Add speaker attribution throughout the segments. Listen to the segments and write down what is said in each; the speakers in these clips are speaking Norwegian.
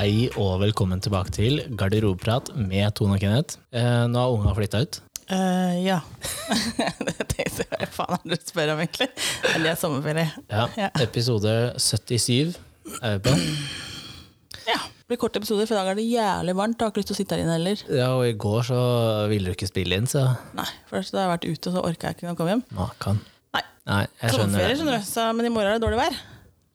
Speaker 1: Hei og velkommen tilbake til Garderobeprat med Tone og Kenneth. Eh, nå har unga flytta ut.
Speaker 2: Eh, ja. det tenkte jeg, hva faen er det du spør om egentlig? Men det er sommerferie.
Speaker 1: Ja.
Speaker 2: Ja.
Speaker 1: Episode 77 er vi på.
Speaker 2: Ja, det blir korte episoder, for i dag er det jævlig varmt. Jeg har ikke lyst til å sitte her inne heller.
Speaker 1: Ja, og i går så ville du ikke spille inn, så
Speaker 2: Nei, for da har jeg vært ute, og så orker jeg ikke når jeg kommer hjem.
Speaker 1: makan.
Speaker 2: Nei,
Speaker 1: Nei, jeg
Speaker 2: sommerferie,
Speaker 1: skjønner. det.
Speaker 2: skjønner du. Så, men i morgen er det dårlig vær,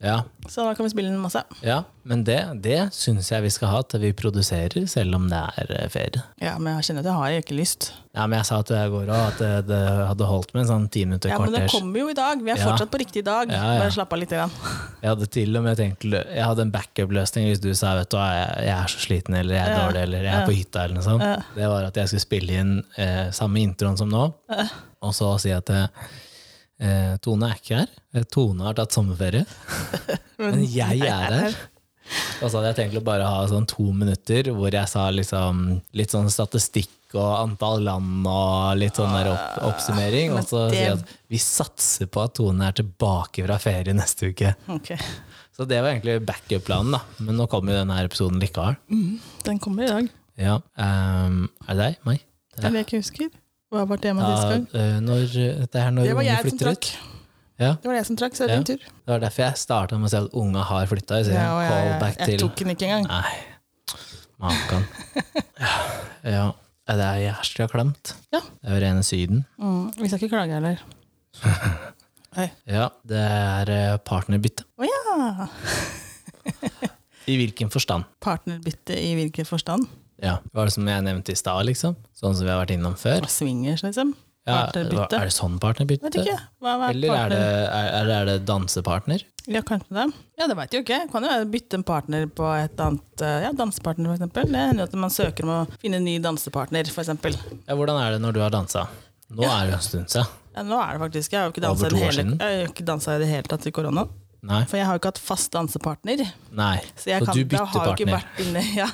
Speaker 1: Ja,
Speaker 2: så da kan vi spille inn masse.
Speaker 1: ja. men det, det syns jeg vi skal ha til vi produserer, selv om det er eh, ferie.
Speaker 2: Ja, men jeg kjenner at jeg har ikke lyst.
Speaker 1: Ja, men jeg sa til deg i går òg at det, det hadde holdt med en sånn ti minutter
Speaker 2: Ja, men det
Speaker 1: kvarters.
Speaker 2: kommer jo i dag. Vi er
Speaker 1: Ja.
Speaker 2: fortsatt på riktig dag.
Speaker 1: Ja, ja.
Speaker 2: Bare slapp av litt. Grann.
Speaker 1: Jeg hadde til og med tenkt Jeg hadde en backup-løsning hvis du sa vet du, hva, jeg, jeg er så sliten eller jeg er
Speaker 2: Ja.
Speaker 1: dårlig eller jeg er på hytta. eller noe sånt.
Speaker 2: Ja.
Speaker 1: Det var at jeg skulle spille inn eh, samme introen som nå, og så si at eh, Tone er ikke her. Eh, Tone har tatt sommerferie, men jeg er her. Og så hadde jeg tenkt å bare ha sånn to minutter hvor jeg sa liksom, litt sånn statistikk og antall land og litt sånn der opp, oppsummering,
Speaker 2: Ah, Men
Speaker 1: og så si
Speaker 2: det-
Speaker 1: at vi satser på at Tone er tilbake fra ferie neste uke.
Speaker 2: Ok,
Speaker 1: Så det var egentlig backup-planen, da. Men nå kommer jo denne her episoden likevel.
Speaker 2: den kommer i dag.
Speaker 1: Ja. ehm, er det deg? Meg? Det er-
Speaker 2: Eller jeg ikke husker. Hva var tema sist
Speaker 1: Ja,
Speaker 2: gang?
Speaker 1: eh, når, det er når
Speaker 2: Det var
Speaker 1: unge
Speaker 2: jeg som
Speaker 1: flytter
Speaker 2: trakk.
Speaker 1: ut. Ja,
Speaker 2: Det var jeg som trakk, så
Speaker 1: Ja.
Speaker 2: det er din tur.
Speaker 1: det var derfor jeg starta med å si at unga har flytta.
Speaker 2: Ja, ja, ja, ja.
Speaker 1: Callback
Speaker 2: Jeg
Speaker 1: til
Speaker 2: tok den ikke engang.
Speaker 1: Nei, makan. ja, ja. Det er jævlig klemt.
Speaker 2: Ja.
Speaker 1: Det er jo rene Syden.
Speaker 2: Mm, vi skal ikke klage heller. Oi.
Speaker 1: Ja, det er eh, partnerbytte.
Speaker 2: Å ja!
Speaker 1: I hvilken forstand?
Speaker 2: Partnerbytte i hvilken forstand?
Speaker 1: Ja. Var det som jeg nevnte i stad, liksom? Sånn som vi har vært innom før?
Speaker 2: Swingers, liksom?
Speaker 1: Ja,
Speaker 2: partnerbytte?
Speaker 1: Er det sånn partnerbytte?
Speaker 2: Vet ikke. Hva er
Speaker 1: Eller er det,
Speaker 2: partner?
Speaker 1: er, er det- er det dansepartner?
Speaker 2: Ja, kanskje det. Ja, det veit jeg jo ikke. Kan jo være å bytte en partner på et annet eh, Ja, dansepartner, for eksempel. Det hender jo at man søker om å finne en ny dansepartner, for eksempel.
Speaker 1: Ja, hvordan er det når du har dansa? Nå er det jo en stund siden.
Speaker 2: Ja, nå er det faktisk Jeg har jo ikke
Speaker 1: Over
Speaker 2: dansa i
Speaker 1: to
Speaker 2: det
Speaker 1: år
Speaker 2: hele,
Speaker 1: siden.
Speaker 2: jeg har jo ikke danset i det hele tatt i korona.
Speaker 1: Nei.
Speaker 2: For jeg har jo ikke hatt fast dansepartner.
Speaker 1: Nei.
Speaker 2: Så, jeg
Speaker 1: Så
Speaker 2: kan,
Speaker 1: du
Speaker 2: da
Speaker 1: bytter
Speaker 2: har jo ikke
Speaker 1: partner?
Speaker 2: vært inne, ja.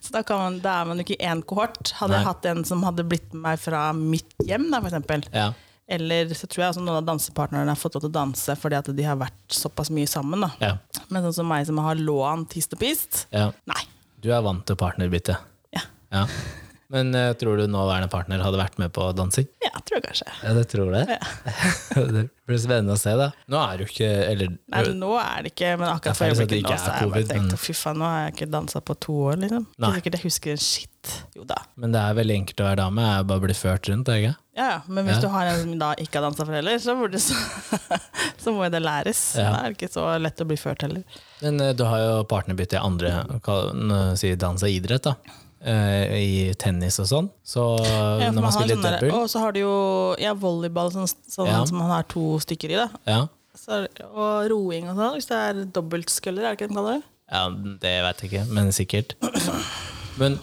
Speaker 2: Så da, kan man, da er man jo ikke i én kohort. Hadde
Speaker 1: Nei.
Speaker 2: jeg hatt en som hadde blitt med meg fra mitt hjem, da, for eksempel,
Speaker 1: Ja.
Speaker 2: eller så tror jeg også noen av dansepartnerne har fått lov til å danse fordi at de har vært såpass mye sammen. Da.
Speaker 1: Ja.
Speaker 2: Men sånn som meg som har lånt hist og pist,
Speaker 1: ja.
Speaker 2: nei.
Speaker 1: Du er vant til partnerbytte.
Speaker 2: Ja.
Speaker 1: Ja. Men eh, tror du nåværende partner hadde vært med på dansing?
Speaker 2: Ja, tror jeg kanskje.
Speaker 1: Ja, det tror jeg. det blir spennende å se, da. Nå er det jo ikke Eller
Speaker 2: Nei, nå er det ikke, men akkurat
Speaker 1: Det
Speaker 2: for
Speaker 1: er fælt at det
Speaker 2: øyeblikket nå
Speaker 1: ikke er
Speaker 2: så har jeg bare
Speaker 1: covid,
Speaker 2: tenkt
Speaker 1: men-
Speaker 2: å fy faen, nå har jeg ikke dansa på to år, liksom. Ikke
Speaker 1: Nei.
Speaker 2: sikkert jeg husker en shit. Jo da.
Speaker 1: Men det er veldig enkelt å være dame. Er bare å bli ført rundt, er det ikke?
Speaker 2: Ja, ja, men hvis
Speaker 1: Ja.
Speaker 2: du har en som da ikke har dansa for heller, så, burde, så, så må jo det læres.
Speaker 1: Ja.
Speaker 2: Da er det ikke så lett å bli ført heller.
Speaker 1: Men eh, du har jo partnerbytte i andre kan, eh, si dans og idrett, da. Eh, I tennis og sånn. Så når
Speaker 2: Ja, for man
Speaker 1: man
Speaker 2: har
Speaker 1: spiller
Speaker 2: sånn der-
Speaker 1: double
Speaker 2: Og så har du jo ja, volleyball, sånn, sånn
Speaker 1: Ja.
Speaker 2: som man har to stykker i. da.
Speaker 1: ja.
Speaker 2: Så, er det- og roing og sånn, hvis det er dobbeltsculler, er det ikke det de kaller det?
Speaker 1: Ja, det vet jeg ikke, men sikkert. Men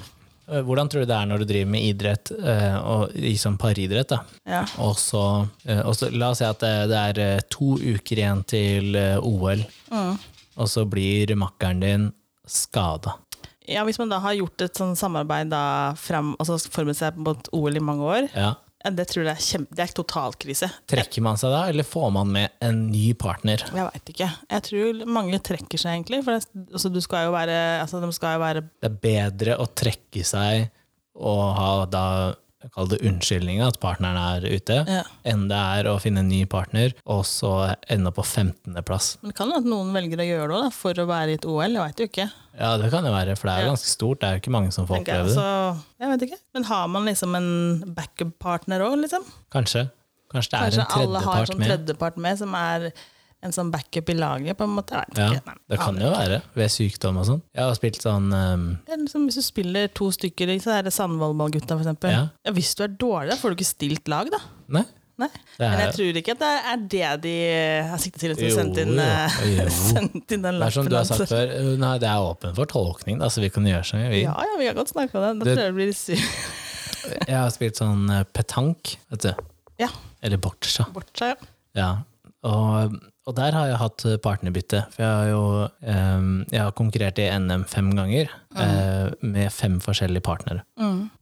Speaker 1: øh, hvordan tror du det er når du driver med idrett, øh, og i sånn paridrett, da?
Speaker 2: Ja.
Speaker 1: Og så, øh, og så la oss si at det, det er øh, to uker igjen til øh, OL, og så blir makkeren din skada.
Speaker 2: ja, hvis man da har gjort et sånn samarbeid da frem, og så forberedt seg mot OL i mange år,
Speaker 1: Ja.
Speaker 2: ja, det tror jeg er kjempe, det er totalkrise.
Speaker 1: Trekker man seg da, eller får man med en ny partner?
Speaker 2: Jeg veit ikke. Jeg tror mange trekker seg, egentlig. For det, altså, du skal jo være, altså, de skal jo være
Speaker 1: Det er bedre å trekke seg og ha da Kall det unnskyldning at partneren er ute,
Speaker 2: Ja.
Speaker 1: enn det er å finne en ny partner og så ende opp på 15.-plass.
Speaker 2: Men det kan hende at noen velger å gjøre det også, da, for å være i et OL, jeg veit jo ikke.
Speaker 1: Ja, det kan det være, for det er jo
Speaker 2: Ja.
Speaker 1: ganske stort. Det er jo ikke mange som får
Speaker 2: Tenker jeg.
Speaker 1: oppleve det.
Speaker 2: Altså, jeg vet ikke. Men har man liksom en backup-partner òg, liksom?
Speaker 1: Kanskje. Kanskje det er
Speaker 2: Kanskje
Speaker 1: en
Speaker 2: alle har en
Speaker 1: tredjepart
Speaker 2: sånn
Speaker 1: med.
Speaker 2: tredjepart med, som er en sånn backup i laget, på en måte. Jeg vet
Speaker 1: Ja,
Speaker 2: ikke. Nei,
Speaker 1: det kan
Speaker 2: aner
Speaker 1: jo
Speaker 2: ikke.
Speaker 1: være, ved sykdom og sånn. Jeg har spilt sånn ehm,
Speaker 2: Det er liksom, hvis du spiller to stykker, så er det Sandvollballgutta, for eksempel.
Speaker 1: Ja.
Speaker 2: Ja. hvis du er dårlig, da får du ikke stilt lag, da.
Speaker 1: Nei.
Speaker 2: Nei.
Speaker 1: Det
Speaker 2: Men
Speaker 1: er,
Speaker 2: jeg tror ikke at det er det de har siktet til, at de
Speaker 1: Jo,
Speaker 2: har sendt inn,
Speaker 1: jo,
Speaker 2: eh,
Speaker 1: jo.
Speaker 2: sendt inn den
Speaker 1: det er som
Speaker 2: lappen.
Speaker 1: du har
Speaker 2: altså.
Speaker 1: sagt før, eh, nei, det er åpen for tolkning, da, så vi kan gjøre som vi vil.
Speaker 2: Ja, ja, vi kan godt snakke om det. Da
Speaker 1: Det-
Speaker 2: tror jeg det blir sur.
Speaker 1: Jeg har spilt sånn eh, petank, vet du.
Speaker 2: Ja,
Speaker 1: Eller boccia.
Speaker 2: bort seg.
Speaker 1: Ja. Og Og der har jeg hatt partnerbytte, for jeg har jo eh, jeg har konkurrert i NM fem ganger
Speaker 2: Mm.
Speaker 1: eh, med fem forskjellige partnere.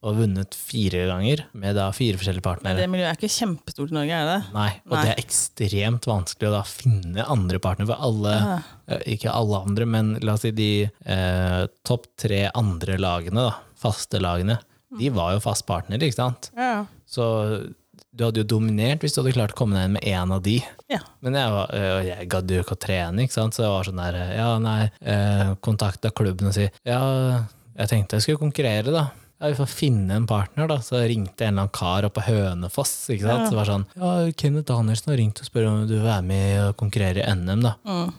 Speaker 1: Og vunnet fire ganger med da fire forskjellige partnere.
Speaker 2: Det miljøet er ikke kjempestort i Norge, er det?
Speaker 1: Nei, og
Speaker 2: Nei.
Speaker 1: det er ekstremt vanskelig å da finne andre partnere. For alle, eh, ikke alle andre, men la oss si de eh, topp tre andre lagene, da, faste lagene,
Speaker 2: Mm.
Speaker 1: de var jo fast partner, ikke sant?
Speaker 2: Ja.
Speaker 1: Så du hadde jo dominert hvis du hadde klart å komme deg inn med én av de.
Speaker 2: ja.
Speaker 1: Men jeg, var, øh, jeg gadd jo ikke å trene, ikke sant? så jeg var sånn der øh, Ja, nei, øh, kontakta klubben og si Ja, jeg tenkte jeg skulle konkurrere, da. Ja, Vi får finne en partner, da. Så ringte en eller annen kar oppe på Hønefoss. ikke sant? Så det var sånn Ja, Kenneth Danielsen har ringt og spør om du vil være med og konkurrere i NM, da.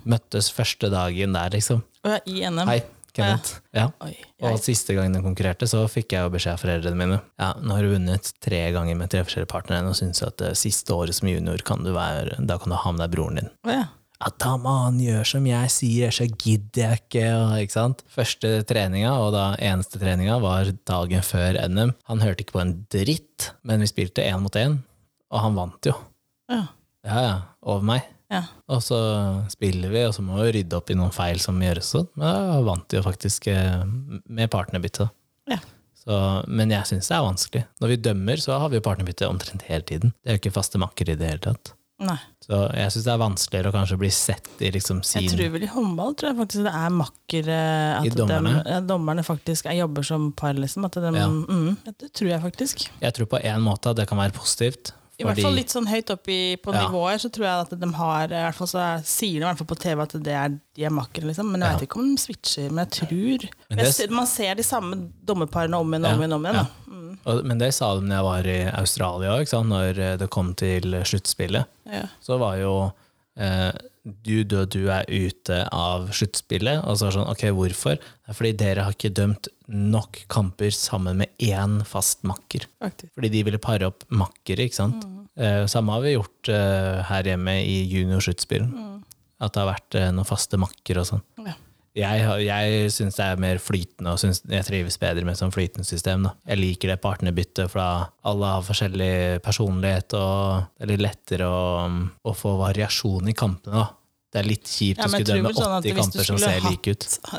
Speaker 1: Møttes første dagen der, liksom.
Speaker 2: Mm. Og jeg er I NM.
Speaker 1: Hei, Kenneth. Ja.
Speaker 2: Oi, jeg,
Speaker 1: Og siste gangen jeg konkurrerte, så fikk jeg jo beskjed av foreldrene mine. Ja, nå har du vunnet tre ganger med tre forskjellige partnere, og syns jeg at eh, siste året som junior kan du være, da kan du ha med deg broren din.
Speaker 2: Å, ja.
Speaker 1: Ja, da må han gjøre som jeg sier, så gidder jeg ikke. Og, ikke sant? Første treninga, og da eneste treninga, var dagen før NM. Han hørte ikke på en dritt, men vi spilte én mot én, og han vant jo.
Speaker 2: Ja.
Speaker 1: Ja, ja, over meg.
Speaker 2: Ja.
Speaker 1: Og så spiller vi, og så må vi rydde opp i noen feil som gjøres. sånn. Men da vant vi jo faktisk eh, med partnerbytte.
Speaker 2: Ja.
Speaker 1: Så- Men jeg syns det er vanskelig. Når vi dømmer, så har vi jo partnerbytte omtrent hele tiden. Det er jo ikke faste makker i det hele tatt.
Speaker 2: Nei.
Speaker 1: Så jeg syns det er vanskeligere å kanskje bli sett i liksom
Speaker 2: Jeg
Speaker 1: sin
Speaker 2: tror vel i håndball tror jeg faktisk det er makkere at
Speaker 1: I dommerne?
Speaker 2: dem- ja, dommerne faktisk er, jobber som par, liksom. At dem,
Speaker 1: Ja.
Speaker 2: mm, det tror jeg faktisk.
Speaker 1: Jeg tror på en måte at det kan være positivt.
Speaker 2: I hvert fall litt sånn høyt opp i, på
Speaker 1: Ja.
Speaker 2: nivåer, så tror jeg at de har eh, i hvert fall så er- sier de i hvert fall på TV at det er, de er makkere, liksom. Men jeg
Speaker 1: Ja.
Speaker 2: vet ikke om de switcher, men jeg tror
Speaker 1: Men
Speaker 2: jeg
Speaker 1: det-
Speaker 2: ser, Man ser de samme dommerparene om igjen
Speaker 1: Ja,
Speaker 2: og om igjen. Om igjen
Speaker 1: ja.
Speaker 2: da. Mm,
Speaker 1: Og- Men det sa de når jeg var i Australia òg, når eh, det kom til sluttspillet.
Speaker 2: ja.
Speaker 1: så var jo eh, du, du og du er ute av sluttspillet. Og så var det sånn, ok, hvorfor? Det er fordi dere har ikke dømt nok kamper sammen med én fast makker.
Speaker 2: Faktisk.
Speaker 1: Fordi de ville pare opp makkere, ikke sant?
Speaker 2: Mm.
Speaker 1: Eh, samme har vi gjort eh, her hjemme i juniorsluttspill.
Speaker 2: Mm.
Speaker 1: At det har vært eh, noen faste makker og sånn.
Speaker 2: Ja.
Speaker 1: Jeg, har- jeg syns det er mer flytende, og synes, jeg trives bedre med sånn flytende system. Da. Jeg liker det partnerbyttet, for da alle har forskjellig personlighet, og det er litt lettere å, å få variasjon i kampene. Da. Det er litt kjipt
Speaker 2: Ja,
Speaker 1: å
Speaker 2: men
Speaker 1: skulle
Speaker 2: jeg tror
Speaker 1: dømme
Speaker 2: vel sånn at
Speaker 1: 80
Speaker 2: hvis du
Speaker 1: kamper som
Speaker 2: skulle
Speaker 1: ser
Speaker 2: hatt- eh,
Speaker 1: like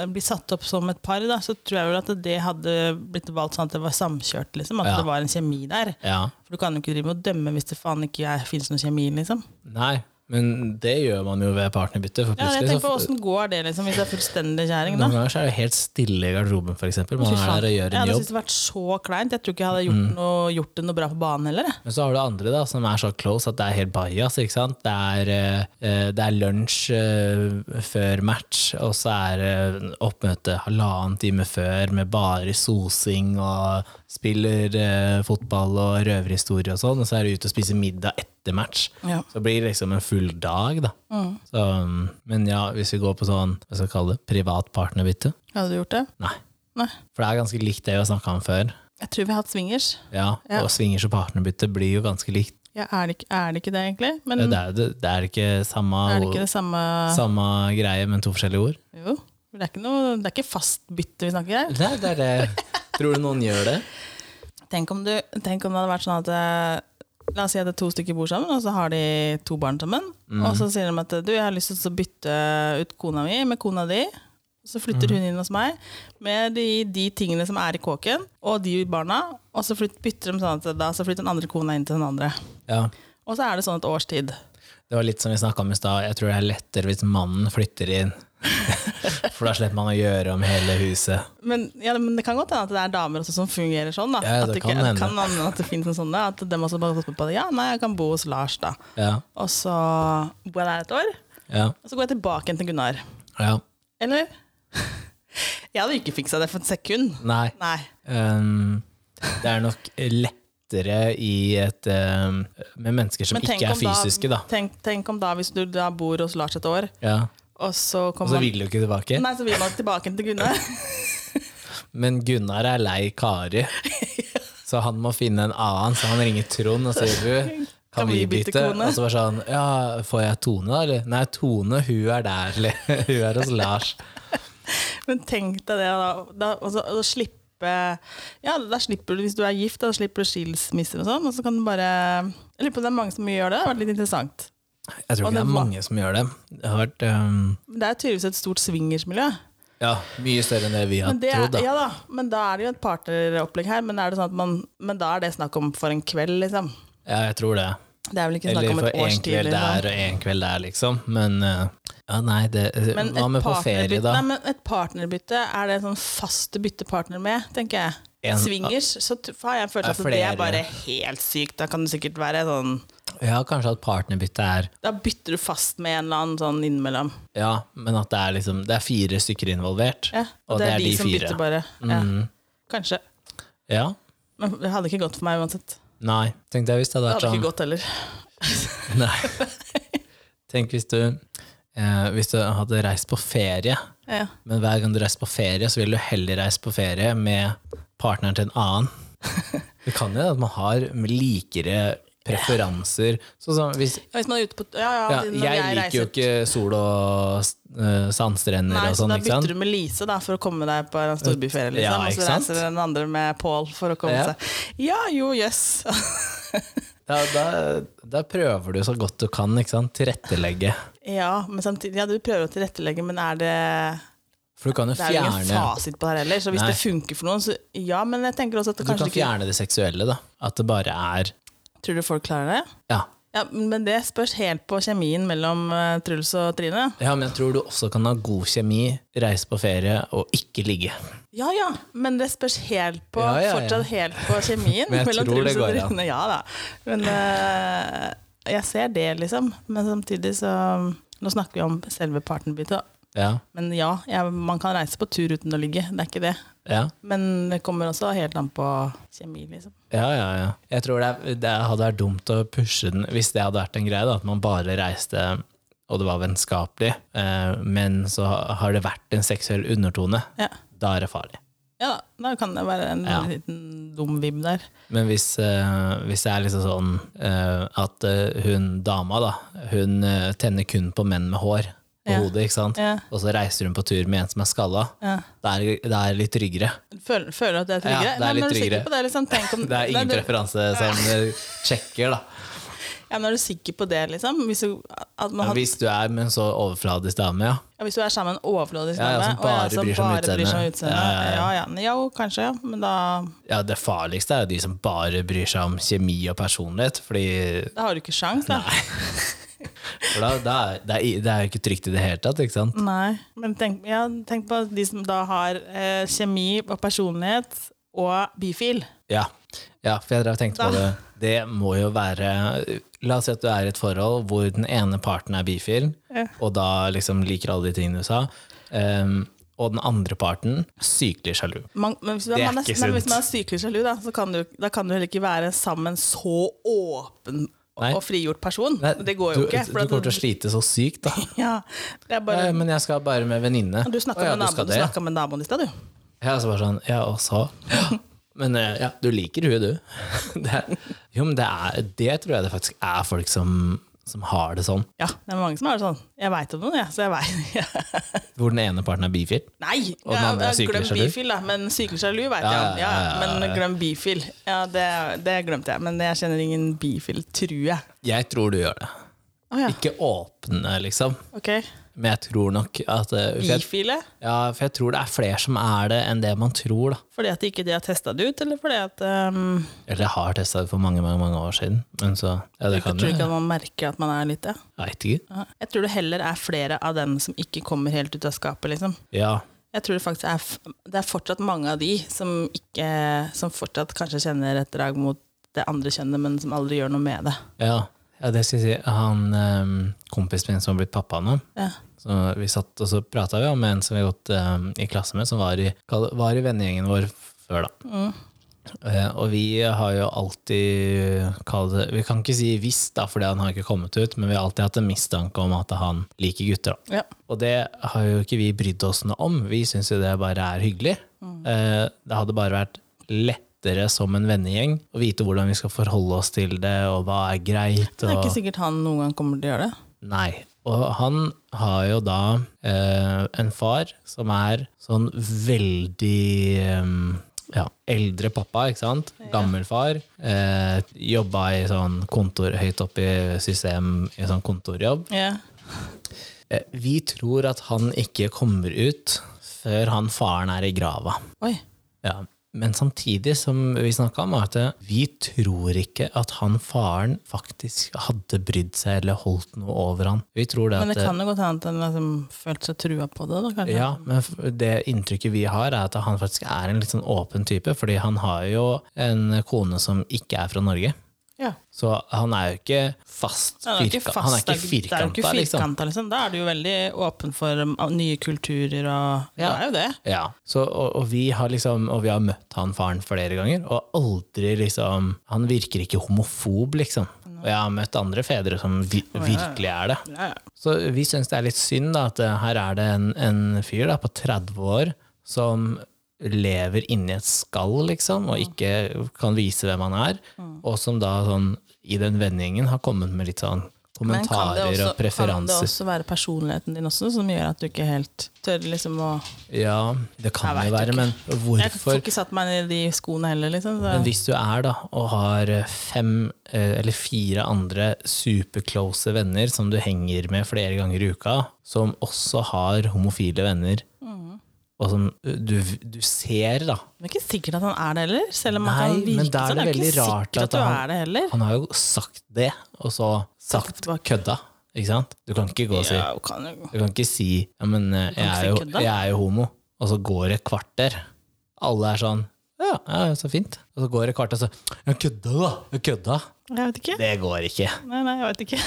Speaker 1: ut.
Speaker 2: bli satt opp som et par, da, så tror jeg vel at det hadde blitt valgt sånn at det var samkjørt. liksom, At
Speaker 1: Ja.
Speaker 2: det var en kjemi der.
Speaker 1: Ja.
Speaker 2: For du kan jo ikke drive med å dømme hvis det faen ikke fins noen kjemi. liksom.
Speaker 1: Nei, men det gjør man jo ved partnerbytte, for
Speaker 2: Ja, jeg
Speaker 1: plutselig
Speaker 2: tenker på
Speaker 1: så
Speaker 2: Åssen går det liksom, hvis det er fullstendig kjæring?
Speaker 1: noen
Speaker 2: da?
Speaker 1: ganger så er det helt stille i garderoben, for eksempel. Man
Speaker 2: Fy
Speaker 1: er
Speaker 2: faen.
Speaker 1: der og gjør
Speaker 2: Jeg
Speaker 1: en
Speaker 2: hadde
Speaker 1: jobb.
Speaker 2: syntes det vært så kleint. Jeg tror ikke jeg hadde gjort, noe, gjort det noe bra på banen heller. jeg.
Speaker 1: Men så har du andre da, som er så close at det er helt bajas, ikke sant? Det er, eh, det er lunsj eh, før match, og så er eh, oppmøte halvannen time før med bare sosing og spiller eh, fotball og røverhistorie og sånn, og så er du ute og spiser middag etter match.
Speaker 2: Ja.
Speaker 1: Så det blir liksom en full dag da. Så, um, men ja, hvis vi går på sånn, hva skal jeg kalle det, privat partnerbytte?
Speaker 2: Hadde du gjort det?
Speaker 1: Nei.
Speaker 2: Nei.
Speaker 1: For det er ganske likt det vi har snakket om før.
Speaker 2: Jeg tror vi har hatt swingers.
Speaker 1: Ja,
Speaker 2: Ja.
Speaker 1: og swingers og partnerbytte blir jo ganske likt.
Speaker 2: Ja, er, det ikke, er det ikke det, egentlig? Men
Speaker 1: Ja, Eh, Det er, det, det er ikke samme,
Speaker 2: Mm. er det ikke det samme
Speaker 1: samme greie, men to forskjellige ord.
Speaker 2: Jo. Det er ikke, noe, det er ikke fast bytte vi snakker her.
Speaker 1: Nei, det er det. Tror du noen gjør det?
Speaker 2: Tenk om, du, tenk om det hadde vært sånn at eh, La oss si at det er to stykker bor sammen, og så har de to barn sammen.
Speaker 1: Mhm.
Speaker 2: Og så sier de at du, jeg har lyst til å bytte ut kona mi med kona di. Så flytter
Speaker 1: Mhm.
Speaker 2: hun inn hos meg med de, de tingene som er i kåken, og de barna. Og så flyt, bytter de sånn at da så flytter den andre kona inn til den andre.
Speaker 1: Ja.
Speaker 2: Og så er det sånn et års tid.
Speaker 1: Det var litt som vi snakka om i stad, jeg tror det er lettere hvis mannen flytter inn. For da slipper man å gjøre om hele huset.
Speaker 2: Men, ja, men det kan godt hende at det er damer også som fungerer sånn. da.
Speaker 1: Ja, ja,
Speaker 2: at
Speaker 1: det
Speaker 2: ikke-
Speaker 1: kan hende.
Speaker 2: kan hende at det finnes en sånn da, at dem også bare har tatt på det. Ja, nei, jeg kan bo hos Lars, da.
Speaker 1: Ja,
Speaker 2: Og så bor jeg der et år,
Speaker 1: ja,
Speaker 2: og så går jeg tilbake igjen til Gunnar.
Speaker 1: ja.
Speaker 2: Eller? Jeg hadde ikke fiksa det for et sekund.
Speaker 1: Nei.
Speaker 2: Nei.
Speaker 1: Um, det er nok lettere i et um, Med mennesker som
Speaker 2: Men tenk
Speaker 1: ikke er
Speaker 2: om da-
Speaker 1: fysiske, da.
Speaker 2: Tenk, tenk om da, hvis du da bor hos Lars et år,
Speaker 1: Ja.
Speaker 2: og så
Speaker 1: Og
Speaker 2: kommer
Speaker 1: så
Speaker 2: han
Speaker 1: vil du ikke tilbake.
Speaker 2: Nei, så vil man tilbake igjen til Gunnar.
Speaker 1: Men Gunnar er lei Kari, så han må finne en annen. Så han ringer Trond og sier du, kan vi bytte?
Speaker 2: kone?»
Speaker 1: Og så bare sånn, ja, får jeg Tone da, eller? Nei, Tone, hun er der, eller? Hun er hos Lars.
Speaker 2: Men tenk deg det, da. da og så, og så slippe Ja, da slipper du, hvis du er gift, da slipper du skilsmisse og sånn, og så kan du bare Jeg lurer på om det er mange som gjør det. Det har vært litt interessant.
Speaker 1: Jeg tror ikke det
Speaker 2: Og det
Speaker 1: er
Speaker 2: var-
Speaker 1: mange som gjør det. Det har vært ehm,
Speaker 2: Men Det er tydeligvis et stort swingersmiljø.
Speaker 1: ja, mye større enn det vi har
Speaker 2: Men det,
Speaker 1: trodd.
Speaker 2: er-
Speaker 1: Da.
Speaker 2: ja da, men da er det jo et partneropplegg her. Men, er det sånn at man, men da er det snakk om for en kveld, liksom.
Speaker 1: Ja, jeg tror det.
Speaker 2: Det er vel ikke snakk
Speaker 1: Eller
Speaker 2: om
Speaker 1: for
Speaker 2: et års
Speaker 1: én
Speaker 2: tid.
Speaker 1: kveld
Speaker 2: Liksom.
Speaker 1: der og én kveld der, liksom. Men eh, ja, nei, det eh,
Speaker 2: Men
Speaker 1: Hva med
Speaker 2: et
Speaker 1: på ferie,
Speaker 2: partnerbytte-
Speaker 1: da?
Speaker 2: Nei, men et partnerbytte, er det sånn faste byttepartner med, tenker jeg.
Speaker 1: En-
Speaker 2: Swingers, så t- har jeg en
Speaker 1: Ja,
Speaker 2: følelse at det
Speaker 1: flere.
Speaker 2: er bare helt sykt. Da kan det sikkert være sånn
Speaker 1: Ja, kanskje at partnerbytte er
Speaker 2: Da bytter du fast med en eller annen sånn innimellom.
Speaker 1: Ja, men at det er liksom Det er fire stykker involvert.
Speaker 2: Ja, og, det, er de, som bytter bare.
Speaker 1: Mm.
Speaker 2: Ja. Kanskje.
Speaker 1: Ja.
Speaker 2: Men det hadde ikke gått for meg uansett.
Speaker 1: Nei. Tenk deg hvis det hadde
Speaker 2: Det
Speaker 1: vært
Speaker 2: hadde
Speaker 1: sånn
Speaker 2: ikke gått heller.
Speaker 1: Nei. Tenk hvis du eh, Hvis du hadde reist på ferie,
Speaker 2: Ja.
Speaker 1: men hver gang du reiser på ferie, så ville du heller reist på ferie med partneren til en annen. Det kan jo at man har likere preferanser. Sånn som hvis
Speaker 2: Hvis man er ute på Ja, ja,
Speaker 1: ja,
Speaker 2: når
Speaker 1: Jeg liker jo
Speaker 2: reiser-
Speaker 1: ikke sol og eh, sandstrender
Speaker 2: Nei,
Speaker 1: og
Speaker 2: så
Speaker 1: sånn,
Speaker 2: da
Speaker 1: ikke sant?
Speaker 2: bytter du med Lise da, for å komme deg på en storbyferie, liksom.
Speaker 1: Ja,
Speaker 2: og
Speaker 1: ikke
Speaker 2: så
Speaker 1: sant?
Speaker 2: reiser den andre med Pål for å komme
Speaker 1: Ja.
Speaker 2: seg Ja, jo, jøss.
Speaker 1: Da, da, da prøver du så godt du kan, ikke sant? Tilrettelegge.
Speaker 2: Ja, men samtidig, ja, du prøver å tilrettelegge, men er det
Speaker 1: For du kan jo
Speaker 2: Det er jo ingen
Speaker 1: fjerne
Speaker 2: fasit på det her heller, så hvis
Speaker 1: Nei.
Speaker 2: det funker for noen, så ja, men jeg tenker også at det
Speaker 1: Du
Speaker 2: kanskje
Speaker 1: kan fjerne det seksuelle, da. At det bare er
Speaker 2: ikke Tror du folk klarer det?
Speaker 1: Ja.
Speaker 2: Ja, Men det spørs helt på kjemien mellom eh, Truls og Trine.
Speaker 1: ja, men jeg tror du også kan ha god kjemi, reise på ferie og ikke ligge.
Speaker 2: Ja ja, men det spørs helt på
Speaker 1: Ja, ja, ja.
Speaker 2: fortsatt helt på kjemien
Speaker 1: Men jeg
Speaker 2: mellom
Speaker 1: tror det
Speaker 2: Truls og
Speaker 1: går an.
Speaker 2: Trine. Ja da. Men eh, jeg ser det, liksom. Men samtidig så Nå snakker vi om selve partnerbyttet, da.
Speaker 1: Ja,
Speaker 2: Men ja, jeg, man kan reise på tur uten å ligge. Det er ikke det.
Speaker 1: ja,
Speaker 2: Men det kommer også helt an på kjemi, liksom.
Speaker 1: ja. ja, ja. Jeg tror det, er- det hadde vært dumt å pushe den hvis det hadde vært en greie, da, at man bare reiste og det var vennskapelig, eh, men så har det vært en seksuell undertone.
Speaker 2: Ja.
Speaker 1: Da er det farlig.
Speaker 2: Ja, da kan det være en
Speaker 1: Ja.
Speaker 2: liten dum vibb der.
Speaker 1: Men hvis, eh, hvis det er liksom sånn eh, at eh, hun dama, da, hun eh, tenner kun på menn med hår på
Speaker 2: Ja.
Speaker 1: hodet, ikke sant?
Speaker 2: Ja.
Speaker 1: og så reiser hun på tur med en som er skalla,
Speaker 2: Ja.
Speaker 1: det er, det er litt tryggere.
Speaker 2: Føler, føler at det
Speaker 1: Ja,
Speaker 2: er tryggere?
Speaker 1: det er
Speaker 2: Nei, men
Speaker 1: litt
Speaker 2: er du
Speaker 1: tryggere.
Speaker 2: sikker på det? Liksom? Tenk om,
Speaker 1: Det er ingen
Speaker 2: Nei, du-
Speaker 1: preferanse som eh, sjekker, da.
Speaker 2: Ja, men er du sikker på det, liksom? Hvis du, at man
Speaker 1: Men
Speaker 2: har,
Speaker 1: hvis du er med en så overfladisk dame, ja.
Speaker 2: ja, hvis du er sammen med en overfladisk
Speaker 1: Ja, ja,
Speaker 2: dame,
Speaker 1: som
Speaker 2: og ja,
Speaker 1: bare bryr seg om
Speaker 2: bare bryr seg om
Speaker 1: utseendet.
Speaker 2: utseendet
Speaker 1: Ja,
Speaker 2: ja,
Speaker 1: ja,
Speaker 2: ja,
Speaker 1: ja.
Speaker 2: ja. men- Jo, kanskje, ja. men da,
Speaker 1: ja. Det farligste er jo de som bare bryr seg om kjemi og personlighet, fordi
Speaker 2: da har du ikke sjans, da. Nei.
Speaker 1: for da, da, er- det, er, det er jo ikke trygt i det hele tatt, ikke sant?
Speaker 2: Men tenk, ja, tenk på de som da har eh, kjemi og personlighet og bifil.
Speaker 1: Ja, ja for jeg drev og tenkte på det. Det må jo være La oss si at du er i et forhold hvor den ene parten er bifil,
Speaker 2: Ja.
Speaker 1: og da liksom liker alle de tingene du sa, ehm, og den andre parten sykelig sjalu.
Speaker 2: Man, men hvis,
Speaker 1: Det er
Speaker 2: man er,
Speaker 1: ikke
Speaker 2: nei, men hvis
Speaker 1: sunt.
Speaker 2: man er sykelig sjalu, da, så kan du, da kan du heller ikke være sammen så åpen
Speaker 1: Nei.
Speaker 2: og frigjort person. det går jo
Speaker 1: du,
Speaker 2: ikke.
Speaker 1: Du
Speaker 2: for at-
Speaker 1: kommer til å slite så sykt, da.
Speaker 2: ja, det er bare,
Speaker 1: Nei, Eh, men jeg skal bare med venninne.
Speaker 2: du snakka
Speaker 1: Å ja,
Speaker 2: med naboen
Speaker 1: skal
Speaker 2: du
Speaker 1: det, ja.
Speaker 2: snakket med naboen i stad, du.
Speaker 1: Ja, så bare sånn, ja, og så Men eh, ja, du liker huet, du. Det, er- jo, men det, er, det tror jeg det faktisk er folk som, som har det sånn.
Speaker 2: Ja, det er mange som har det sånn. Jeg veit om noen, jeg, så jeg veit
Speaker 1: Hvor den ene parten er bifil.
Speaker 2: Nei!
Speaker 1: Og den andre er
Speaker 2: ja, ja,
Speaker 1: sykelig
Speaker 2: glem
Speaker 1: sjalu.
Speaker 2: bifil, da. Men sykelig sjalu veit
Speaker 1: Ja,
Speaker 2: jeg
Speaker 1: ja,
Speaker 2: om. Ja,
Speaker 1: ja, ja, ja.
Speaker 2: men glem bifil. Ja, det, det glemte jeg. Men jeg kjenner ingen bifil, tror jeg.
Speaker 1: Jeg tror du gjør det.
Speaker 2: Å ja,
Speaker 1: Ikke åpne, liksom.
Speaker 2: ok.
Speaker 1: Men jeg tror nok at eh, for jeg,
Speaker 2: Bifile?
Speaker 1: ja, for jeg tror det er flere som er det, enn det man tror. da.
Speaker 2: Fordi at ikke de har testa det ut, eller fordi at ehm,
Speaker 1: Eller jeg har testa det for mange mange, mange år siden. Men så, ja, det
Speaker 2: Jeg
Speaker 1: kan
Speaker 2: tror
Speaker 1: jo
Speaker 2: ikke
Speaker 1: Jeg
Speaker 2: at man merker at man er litt det.
Speaker 1: vet ikke.
Speaker 2: Ja. Jeg tror det heller er flere av dem som ikke kommer helt ut av skapet, liksom.
Speaker 1: Ja,
Speaker 2: Jeg tror det faktisk er, f- det er fortsatt mange av de som, ikke, som fortsatt kanskje kjenner et drag mot det andre kjønnet, men som aldri gjør noe med det.
Speaker 1: ja. ja det skal jeg si. Han eh, kompisen min som har blitt pappa nå,
Speaker 2: Ja.
Speaker 1: Så vi satt og så prata om en som vi har gått eh, i klasse med, som var i, kall- var i vennegjengen vår før, da.
Speaker 2: Mm.
Speaker 1: Eh, og vi har jo alltid kall det Vi kan ikke si visst, da, fordi han har ikke kommet ut, men vi har alltid hatt en mistanke om at han liker gutter. da.
Speaker 2: Ja.
Speaker 1: Og det har jo ikke vi brydd oss noe om. Vi syns jo det bare er hyggelig.
Speaker 2: Mm.
Speaker 1: Eh, det hadde bare vært lettere som en vennegjeng å vite hvordan vi skal forholde oss til det, og hva er greit.
Speaker 2: Det er
Speaker 1: og...
Speaker 2: ikke sikkert han noen gang kommer til å gjøre det.
Speaker 1: Nei. Og han har jo da eh, en far som er sånn veldig eh, ja, eldre pappa, ikke sant? Gammel far. Eh, jobba i sånn kontor høyt opp i system, i sånn kontorjobb.
Speaker 2: Ja.
Speaker 1: Eh, vi tror at han ikke kommer ut før han faren er i grava.
Speaker 2: Oi.
Speaker 1: Ja. Men samtidig som vi snakka om, var at eh, vi tror ikke at han faren faktisk hadde brydd seg eller holdt noe over han. Vi tror det
Speaker 2: Men
Speaker 1: at eh,
Speaker 2: det kan jo godt hende at han liksom følte seg trua på det, da, kanskje.
Speaker 1: Ja, men f- det inntrykket vi har, er at han faktisk er en litt sånn åpen type, fordi han har jo en kone som ikke er fra Norge.
Speaker 2: Ja.
Speaker 1: Så han er jo ikke fast
Speaker 2: Han er jo ikke
Speaker 1: firka- Han er ikke
Speaker 2: fast- det er jo ikke
Speaker 1: firkanta, liksom.
Speaker 2: firkanta, liksom. Da er du jo veldig åpen for um, nye kulturer og
Speaker 1: Ja.
Speaker 2: Det er jo det.
Speaker 1: Ja, så, og, og, vi har liksom, og vi har møtt han faren flere ganger, og aldri liksom Han virker ikke homofob, liksom. Og jeg har møtt andre fedre som vi, virkelig er det.
Speaker 2: Ja, ja.
Speaker 1: Så vi syns det er litt synd da, at eh, her er det en, en fyr da, på 30 år som lever inni et skall, liksom, og ikke kan vise hvem han er, og som da sånn, i den vendingen har kommet med litt sånn
Speaker 2: Men kan
Speaker 1: kommentarer
Speaker 2: det, også,
Speaker 1: og
Speaker 2: kan det
Speaker 1: preferanser.
Speaker 2: også være personligheten din også som gjør at du ikke helt tør liksom å
Speaker 1: ja, det kan
Speaker 2: Jeg
Speaker 1: jo
Speaker 2: vet
Speaker 1: være,
Speaker 2: ikke.
Speaker 1: men
Speaker 2: Jeg får
Speaker 1: hvorfor
Speaker 2: ikke satt meg i de skoene heller, liksom. Så.
Speaker 1: Men hvis du er da, og har fem eh, eller fire andre superclose venner som du henger med flere ganger i uka, som også har homofile venner,
Speaker 2: Mm.
Speaker 1: og som eh, du, du ser da,
Speaker 2: Det er ikke sikkert at han er det heller. Selv om
Speaker 1: Nei,
Speaker 2: han kan virke
Speaker 1: men da er
Speaker 2: sånn.
Speaker 1: det
Speaker 2: Det er ikke
Speaker 1: veldig rart
Speaker 2: sikkert
Speaker 1: at
Speaker 2: at du
Speaker 1: han-
Speaker 2: er det heller.
Speaker 1: han har jo sagt det, og så sagt
Speaker 2: tilbake.
Speaker 1: kødda, ikke sant? Du kan ikke gå og si,
Speaker 2: Ja, du kan jo-
Speaker 1: du kan ikke si, ja, men eh, jeg
Speaker 2: ikke
Speaker 1: er,
Speaker 2: si
Speaker 1: jo,
Speaker 2: kødda.
Speaker 1: jeg er jo homo, og så går det et kvarter. Alle er sånn, ja, ja, så fint. Og så går det et kvarter, og så, ja, kødda da, ja, kødda.
Speaker 2: Jeg vet ikke.
Speaker 1: Det går ikke.
Speaker 2: Nei, nei, jeg vet ikke.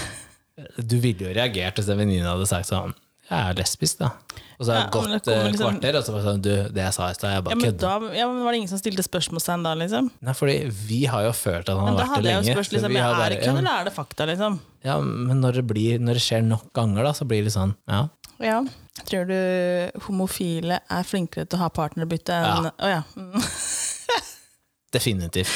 Speaker 1: Du ville jo reagert hvis en venninne hadde sagt sånn Jeg er lesbisk, da. Og så har jeg
Speaker 2: Ja, men det
Speaker 1: gått
Speaker 2: kommer
Speaker 1: eh,
Speaker 2: liksom-
Speaker 1: kvarter, og så bare sånn Du, det jeg sa i stad, jeg
Speaker 2: Ja,
Speaker 1: bare
Speaker 2: men,
Speaker 1: kødder.
Speaker 2: da, ja, men var det ingen som stilte spørsmålstegn da, liksom?
Speaker 1: Nei, fordi vi har jo følt at han
Speaker 2: Men
Speaker 1: har
Speaker 2: da
Speaker 1: vært
Speaker 2: hadde
Speaker 1: det
Speaker 2: jeg jo
Speaker 1: lenge.
Speaker 2: spørt
Speaker 1: så
Speaker 2: liksom,
Speaker 1: vi
Speaker 2: ja,
Speaker 1: har
Speaker 2: er det
Speaker 1: bare-
Speaker 2: kødd, eller er det fakta, liksom?
Speaker 1: ja, men når det, blir, når det skjer nok ganger, da, så blir det sånn Ja.
Speaker 2: Ja. Tror du homofile er flinkere til å ha partnerbytte enn Å ja. Mm.
Speaker 1: Definitivt.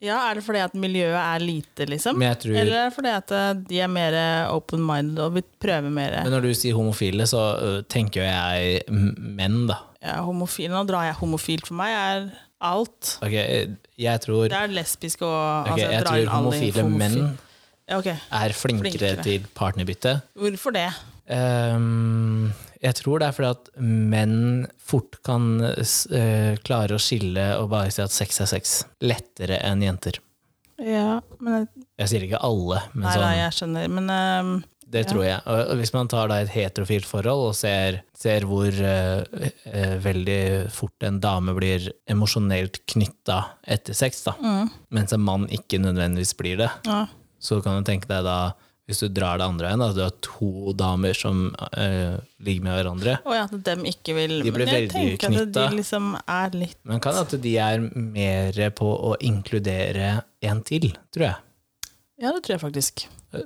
Speaker 2: ja. Er det fordi at miljøet er lite, liksom?
Speaker 1: Men jeg tror
Speaker 2: Eller er det fordi at eh, de er mer open-minded og vil prøve mer?
Speaker 1: Men når du sier homofile, så ø, tenker jo jeg m- menn, da.
Speaker 2: Ja, homofil, nå drar jeg homofilt for meg, er alt.
Speaker 1: Ok, jeg tror,
Speaker 2: Det er lesbisk og altså,
Speaker 1: ok, jeg
Speaker 2: drar inn
Speaker 1: tror
Speaker 2: alle i
Speaker 1: homofile
Speaker 2: homofil-
Speaker 1: menn
Speaker 2: Ja, ok.
Speaker 1: er flinkere
Speaker 2: Flinkere.
Speaker 1: til partnerbytte.
Speaker 2: Hvorfor det?
Speaker 1: Ehm, jeg tror det er fordi at menn fort kan s- eh, klare å skille og bare si at sex er sex. Lettere enn jenter.
Speaker 2: Ja, men
Speaker 1: Jeg sier ikke alle, men
Speaker 2: Nei,
Speaker 1: sånn,
Speaker 2: nei, jeg skjønner. Men ehm,
Speaker 1: det tror jeg. Og og hvis man tar da et heterofilt forhold og ser, ser hvor eh, eh, veldig fort en dame blir emosjonelt knytta etter sex, da, mens en mann ikke nødvendigvis blir det,
Speaker 2: mm, ja.
Speaker 1: så kan du tenke deg da hvis du drar det andre veien, at du har to damer som eh, ligger med hverandre,
Speaker 2: Å ja, at dem ikke vil
Speaker 1: De ble
Speaker 2: Men jeg
Speaker 1: veldig
Speaker 2: tenker at
Speaker 1: knyttet.
Speaker 2: de liksom er litt
Speaker 1: Men kan at de er mer på å inkludere en til, tror jeg.
Speaker 2: Ja, det tror jeg faktisk.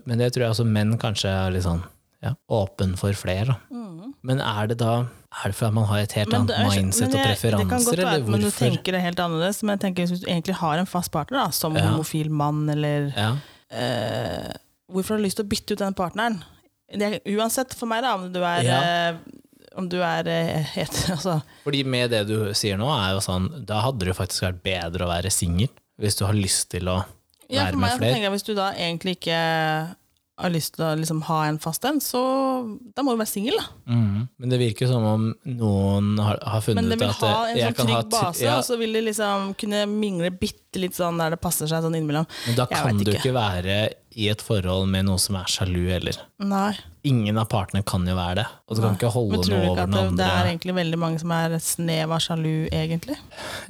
Speaker 1: Men det tror jeg også menn kanskje er litt sånn ja, åpen for flere. da. Men er det da er det for at man har et helt
Speaker 2: Men
Speaker 1: annet
Speaker 2: det er-
Speaker 1: mindset
Speaker 2: men
Speaker 1: og
Speaker 2: jeg- det kan godt
Speaker 1: preferanser,
Speaker 2: være
Speaker 1: eller
Speaker 2: at man
Speaker 1: hvorfor?
Speaker 2: tenker det helt annerledes, men jeg tenker hvis du egentlig har en fast partner, da, som
Speaker 1: Ja.
Speaker 2: homofil mann eller
Speaker 1: Ja,
Speaker 2: eh, Hvorfor har du lyst til å bytte ut den partneren? Det er, uansett for meg, da, om du er,
Speaker 1: Ja.
Speaker 2: eh, om du er eh, het- altså,
Speaker 1: fordi med det du sier nå, er jo sånn Da hadde det jo faktisk vært bedre å være singel, hvis du har lyst til å
Speaker 2: ja,
Speaker 1: være
Speaker 2: for meg,
Speaker 1: med
Speaker 2: så
Speaker 1: flere.
Speaker 2: tenker jeg, Hvis du da egentlig ikke har lyst til å liksom, ha en fast en, så da må du være singel. da.
Speaker 1: Mhm. Men det virker som om noen har, har funnet
Speaker 2: Men det
Speaker 1: ut
Speaker 2: vil
Speaker 1: at
Speaker 2: ha
Speaker 1: eh,
Speaker 2: en
Speaker 1: jeg
Speaker 2: sånn
Speaker 1: kan ha
Speaker 2: trygg
Speaker 1: t-
Speaker 2: base,
Speaker 1: ja,
Speaker 2: og så vil de liksom kunne mingle bitte litt sånn der det passer seg sånn innimellom.
Speaker 1: Men da
Speaker 2: Jeg
Speaker 1: kan
Speaker 2: vet
Speaker 1: du
Speaker 2: ikke.
Speaker 1: ikke være i et forhold med noen som er sjalu heller.
Speaker 2: Nei.
Speaker 1: Ingen av partene kan jo være det. Og du kan ikke holde
Speaker 2: Men
Speaker 1: noe
Speaker 2: tror
Speaker 1: over
Speaker 2: du ikke
Speaker 1: den
Speaker 2: at det, det
Speaker 1: andre.
Speaker 2: er egentlig veldig mange som er et snev av sjalu, egentlig?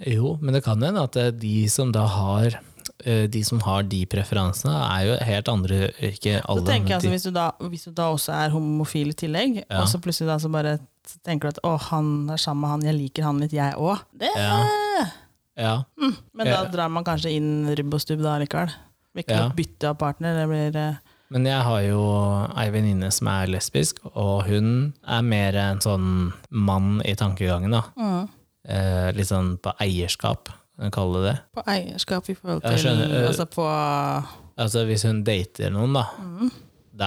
Speaker 1: Jo, men det kan hende at eh, de som da har eh, de som har de preferansene, er jo helt andre Ikke
Speaker 2: Så
Speaker 1: alle.
Speaker 2: tenker jeg
Speaker 1: men
Speaker 2: altså,
Speaker 1: de-
Speaker 2: hvis, du da, hvis du da også er homofil i tillegg,
Speaker 1: Ja.
Speaker 2: og så plutselig da så bare t- tenker du at å, han er sammen med han, jeg liker han litt, jeg òg. Det
Speaker 1: ja,
Speaker 2: Men da
Speaker 1: Ja.
Speaker 2: drar man kanskje inn rubb og stubb da likevel. Vil ikke
Speaker 1: Ja.
Speaker 2: nok bytte av partner. Det blir eh,
Speaker 1: Men jeg har jo ei venninne som er lesbisk, og hun er mer en sånn mann i tankegangen, da.
Speaker 2: Mm.
Speaker 1: Eh, litt sånn på eierskap, kan jeg kalle det det.
Speaker 2: på eierskap i forhold
Speaker 1: Jeg
Speaker 2: til
Speaker 1: skjønner, eh,
Speaker 2: Altså på
Speaker 1: Altså hvis hun dater noen, da.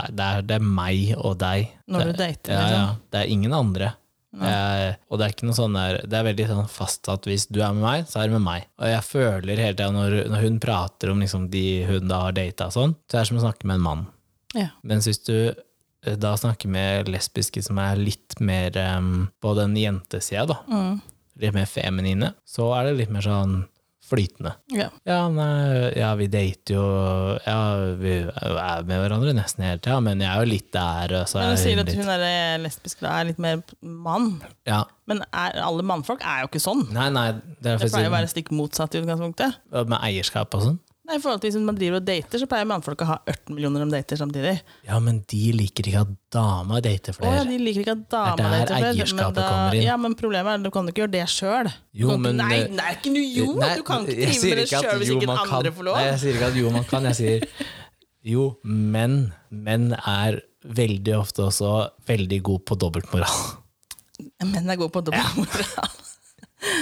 Speaker 1: Det, er- det, er, det er meg og deg.
Speaker 2: Mm. Når
Speaker 1: det,
Speaker 2: du dater,
Speaker 1: Ja,
Speaker 2: liksom.
Speaker 1: ja. Det er ingen andre. Eh, og det er ikke noe sånn der Det er veldig sånn fast at hvis du er med meg, så er du med meg. Og jeg føler hele tida når, når hun prater om liksom de hun da har data og sånn, så er det som å snakke med en mann.
Speaker 2: Ja.
Speaker 1: Mens hvis du eh, da snakker med lesbiske som er litt mer eh, på den jentesida, da,
Speaker 2: Mm.
Speaker 1: litt mer feminine, så er det litt mer sånn flytende.
Speaker 2: ja.
Speaker 1: Ja, nei, ja, vi dater jo Ja, vi er med hverandre nesten hele tida, men jeg er jo litt der, og så
Speaker 2: Men
Speaker 1: er
Speaker 2: du sier at
Speaker 1: litt
Speaker 2: hun er eh, lesbisk og er litt mer mann.
Speaker 1: Ja.
Speaker 2: Men er, alle mannfolk er jo ikke sånn.
Speaker 1: Nei, nei, det er
Speaker 2: Det pleier
Speaker 1: faktisk
Speaker 2: å være stikk motsatt i utgangspunktet.
Speaker 1: med eierskap og sånn.
Speaker 2: Nei, i forhold til Hvis man driver og dater, så pleier mannfolk å ha 18 millioner de dater samtidig.
Speaker 1: Ja, men de liker ikke at dama dater
Speaker 2: Å ja,
Speaker 1: flere.
Speaker 2: de liker ikke at
Speaker 1: Det
Speaker 2: dama
Speaker 1: er der
Speaker 2: dater flere, men
Speaker 1: eierskapet
Speaker 2: da-
Speaker 1: kommer inn.
Speaker 2: Ja, men problemet er at du kan jo ikke gjøre det sjøl.
Speaker 1: Jo, men- eh,
Speaker 2: Nei, det er ikke noe jo!
Speaker 1: Nei,
Speaker 2: du kan ikke
Speaker 1: jeg
Speaker 2: drive
Speaker 1: sier
Speaker 2: med det
Speaker 1: at
Speaker 2: sjøl hvis
Speaker 1: jo,
Speaker 2: ikke
Speaker 1: man kan. eh,
Speaker 2: andre får lov.
Speaker 1: Nei, jeg sier ikke at jo, man kan. Jeg sier jo, men. Menn er veldig ofte også veldig god på dobbeltmoral.
Speaker 2: Menn er gode på dobbeltmoral.